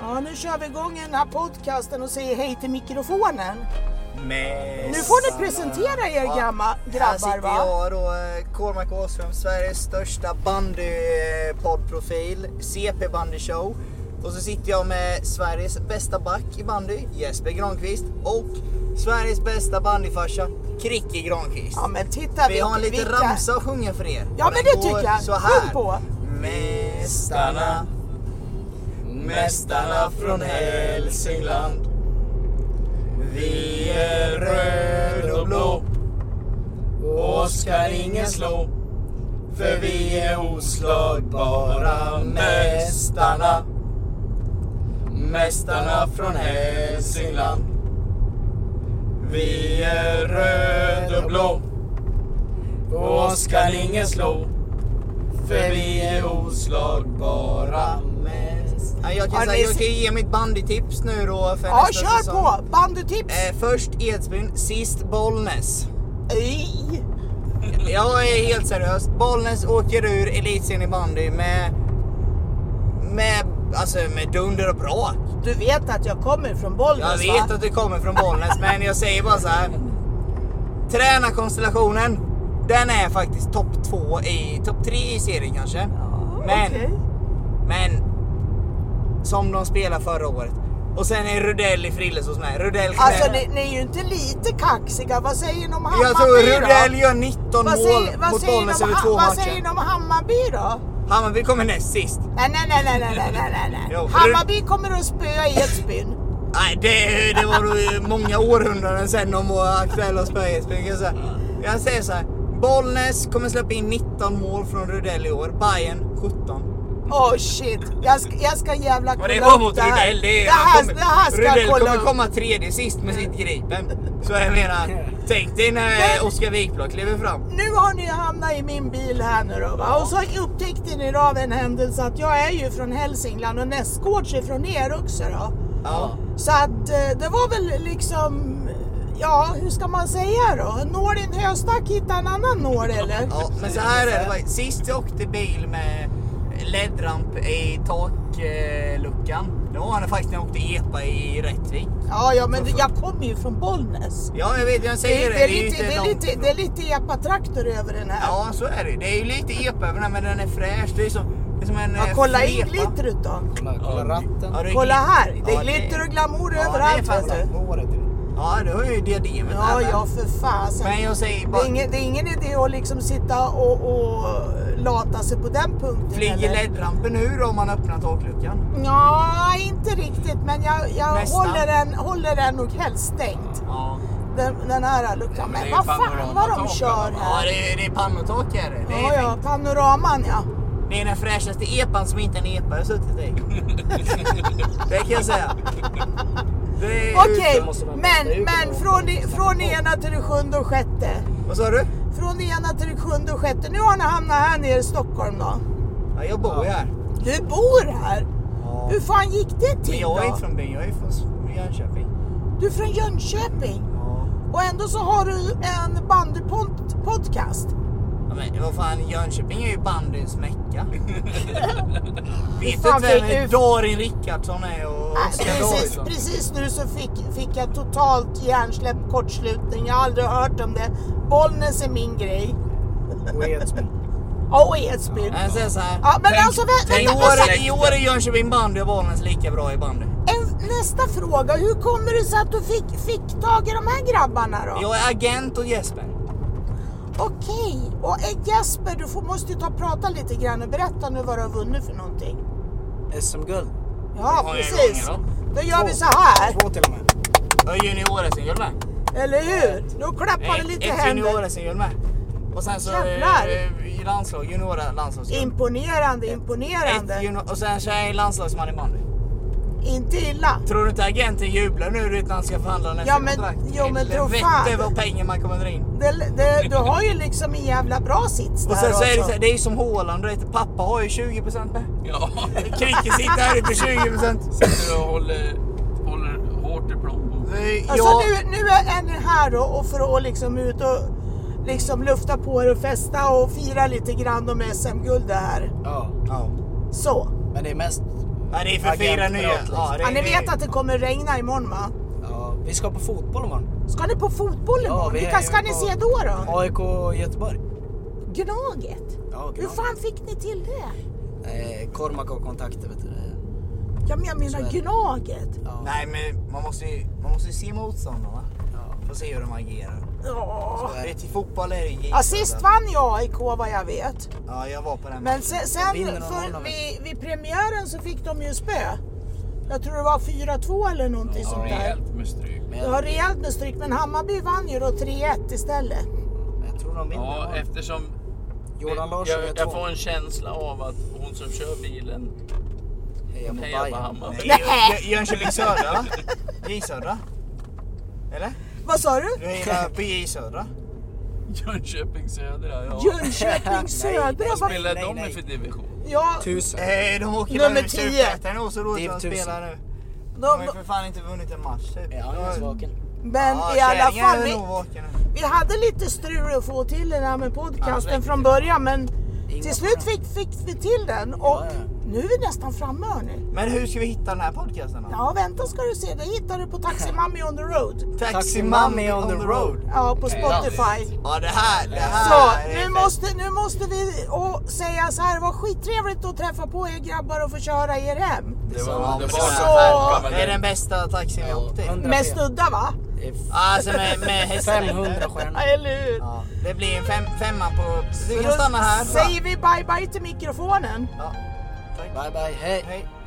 Ja, nu kör vi igång den här podcasten och säger hej till mikrofonen. Men... Nu får ni presentera er gamla Här grabbar sitter va? jag då, eh, Cormac Åström, Sveriges största bandypoddprofil, CP Bandy Show. Och så sitter jag med Sveriges bästa back i bandy, Jesper Granqvist. Och Sveriges bästa bandyfarsa, Kricke Granqvist. Ja men titta Vi har en vilka- liten vilka- ramsa att sjunga för er. Ja, Och men den det går tycker jag. Så här. Sjung på. Mästarna, mästarna från Hälsingland. Vi är röd och blå. Oss kan ingen slå För vi är oslagbara mästarna Mästarna från Hälsingland Vi är röd och blå Oss kan ingen slå För vi är oslagbara mästarna Ja, jag kan, Ja, säga, ni jag ser- kan ju ge mitt bandytips nu då för Ja, nästa kör säsong. på! Bandytips! Eh, först Edsbyn, sist Bollnäs. Ej. Jag är helt seriös. Bollnäs åker ur elitserien i bandy med... Med, alltså, med dunder och brak. Du vet att jag kommer från Jag Bollnäs vet va? att du kommer från Bollnäs, men jag säger bara så här. Tränarkonstellationen, den är faktiskt topp två i, topp tre i serien kanske. men, Okej. men, som de spelade förra året. Och sen är Rudell i Frillesås med. Rudell Alltså knä- ni, ni är ju inte lite kaxiga, vad säger ni om Hammarby Jag tror då? Rudell gör 19 vad mål säger, vad mot säger ni Bollnäs om över Ha- två Vad säger matcher. ni om Hammarby då? Hammarby kommer näst sist. Nej, nej, nej, nej, nej, nej, nej, nej. Jo, Hammarby kommer att spöa Edsbyn. Nej, det, det var nog många århundraden sedan de var aktuella hos Bergensbyn. Jag säger- Jag säger så här. Bollnäs kommer släppa in 19 mål från Rudell i år. Bayern 17. Åh Oh, shit, jag ska, jag ska jävla kolla Och det var upp mot det här. Rudell. Det, det här, det här ska Rudell jag kolla kommer upp. komma tredje sist med sitt Gripen. Så jag menar, tänk dig när Oskar Wikblad kliver fram. Nu har ni hamnat i min bil här nu då va? Och så upptäckte ni då av en händelse att jag är ju från Hälsingland och nästgårds är från er också då. Ja. Så att eh, det var väl liksom, ja hur ska man säga då? Når din höstack hitta en annan når eller? Ja, men så här är det. faktiskt. Sist jag åkte bil med LED-ramp i takluckan. Då var det faktiskt när jag åkte EPA i Rättvik. Ja, ja men jag kommer ju från Bollnäs. Ja, jag vet, jag Det säger är, det. det, är ju lite, det, är långt lite, ifrån. det är lite epatraktor över den här. Ja, så är det ju. Det är ju lite EPA över den, men den är fräsch. Det är som, det är som en... Ja, eh, kolla in flepa. glittret då. Kolla ratten. Ja, det Kolla är glitter. här, det Ja, är glitter och glamour ja, det är överallt fan vet du. Håret. Ja, du har ju diademet Ja, där, men- ja för fasen. Men jag säger Det bara, är, ingen, det är ingen idé att liksom sitta och, och lata sig på den punkten. flyger eller? LED-rampen ur om man öppnar takluckan? Ja, inte riktigt, men jag, jag Nästan. håller, den, håller den nog helst stängt. Ja. Den, den här luckan. det är Men ju vad fan vad de panoramatak, kör Ja, här. det är, det är pannotak är det. Det är, Ja, ja, panoraman ja. det är den fräschaste epan som inte en epa har suttit i. det kan jag säga. Det är- Okej, måste man byta men, ut men dem. från, det- från det ena till det sjunde och sjätte. Vad sa du? Från det ena till det sjunde och sjätte. Nu har ni hamnat här nere i Stockholm då. Ja, jag bor ju här. Du bor här. Ja. Hur fan gick det Men till jag är då? inte från byn, jag är från Jönköping. Du är från Jönköping. Ja. Och ändå så har du en bandypodcast. Ja, men vad fan, Jönköping är ju bandyns mecka. Vet du Fan, inte fick vem du- Darin Rickardsson är och Oskar Precis, Davidsson? precis nu så fick, fick jag totalt hjärnsläpp, kortslutning. Jag har aldrig hört om det. Bollnäs är min grej. Och Edsbyn. Ja, Och Edsbyn. Jag säger så här. Ja, men tänk- alltså, vä- tänk, vänta, i, år, alltså- I år är Jönköping bandy och Bollnäs lika bra i bandy. En, nästa fråga. Hur kommer det sig att du fick, fick tag i de här grabbarna då? Jag är agent och Jesper. Okej. Och eh, Jesper, du får, måste ju ta och prata lite grann och berätta nu vad du har vunnit för någonting. SM-guld. Ja, många precis. gånger Då gör vi så här. Två till och med. Jag är junior-SM-guld med. Eller hur? Då klappar det Ett- lite Ett händer. junior-SM-guld med. Och sen så Jävlar. eh, i landslag, junior-landslagsguld. Imponerande, Ett imponerande. junior- Och sen så är jag landslagsman i bandy. Inte illa. Tror du inte agenten jublar nu du vet när han ska förhandla nästa Ja, men- kontrakt? jo, men tro Helvete fan. vad pengar man kommer dra in. Det, det, du har ju liksom en jävla bra sits där Och sen så är det, också. så här, det är ju som Haaland, du vet, pappa har ju 20% med. Kricke sitter här ute 20%. Sitter och håller, håller hårt i plånboken. Eh, Alltså ja, nu, nu är ni här då och för att liksom ut och liksom lufta på er och festa och fira lite grann om SM-guld det här. Ja. ja. Så. Men det är mest Ja, det är för fyra Agentprat, nya. liksom. Ja, det, Ja, ni vet det- att det kommer regna imorgon va? Ja, vi ska på fotboll imorgon. Ska ni på fotboll Ja, imorgon? vi är Vilka ska ju ni på- se då då? AIK och Göteborg. Gnaget? Ja, Hur fan fick ni till det? Eh, Cormac har kontakter vet du. Det- Ja, men jag Så är menar det. Gnaget. Ja. Nej, men man måste ju, man måste ju se motståndarna. Ja. För att se hur de agerar. Ja. Det är till fotboll är det ju Ja, sist vann jag AIK vad jag vet. Ja, jag var på den. Men sen, sen vinner de för, bollen. vid, vid premiären så fick de ju spö. Jag tror det var 4-2 eller någonting Ja, sånt där. rejält med stryk. Men Det var jag, rejält med stryk, men Hammarby vann ju då 3-1 istället. jag tror de vinner. Ja, imorgon. eftersom... Jordan Larsson gör jag, jag två. får en känsla av att hon som kör bilen Heja på hejar på Bayern. Hammarby. Nej, Jö- Jö- Jönköping Södra va? J Södra? Eller? Vad sa du? Du är på J Södra? Jönköping Södra, ja. Jönköping Södra? nej, Typ- vad- Vad spelar Nej, de i nej. för division? Ja, Tusen. Eh, de åker Nummer väl ur 10. Superettan i år så roligt Div att de spelar nu. De har de, ju för fan inte vunnit en match typ. Ja, han är De- svaken. men Ja, i alla Käringen är fall, väl vi, nog vaken nu. vi hade lite strul att få till den här med podcasten Ja, från början men Inga till slut fick, fick vi till den och Ja, ja. nu är vi nästan framme hörni. Men hur ska vi hitta den här podcasten då? Ja vänta ska du se, det hittar du på Taxi Mummy on the road. Taxi Mummy on the road. Ja, på Spotify. Ja det här, det här. Så är nu fett. måste, nu måste vi och säga så här, det var skittrevligt att träffa på er grabbar och få köra er hem. Det Så- var Så- underbart. Det är den bästa taxin vi har åkt till. Med snudda va? Det är f- Alltså med, med hästen. 500 Ja, stjärnor. eller hur? Ja, det blir en fem, femma på... Du Så kan då stanna här. säger vi bye bye till mikrofonen. Ja, tack. Bye bye, hej. Hej.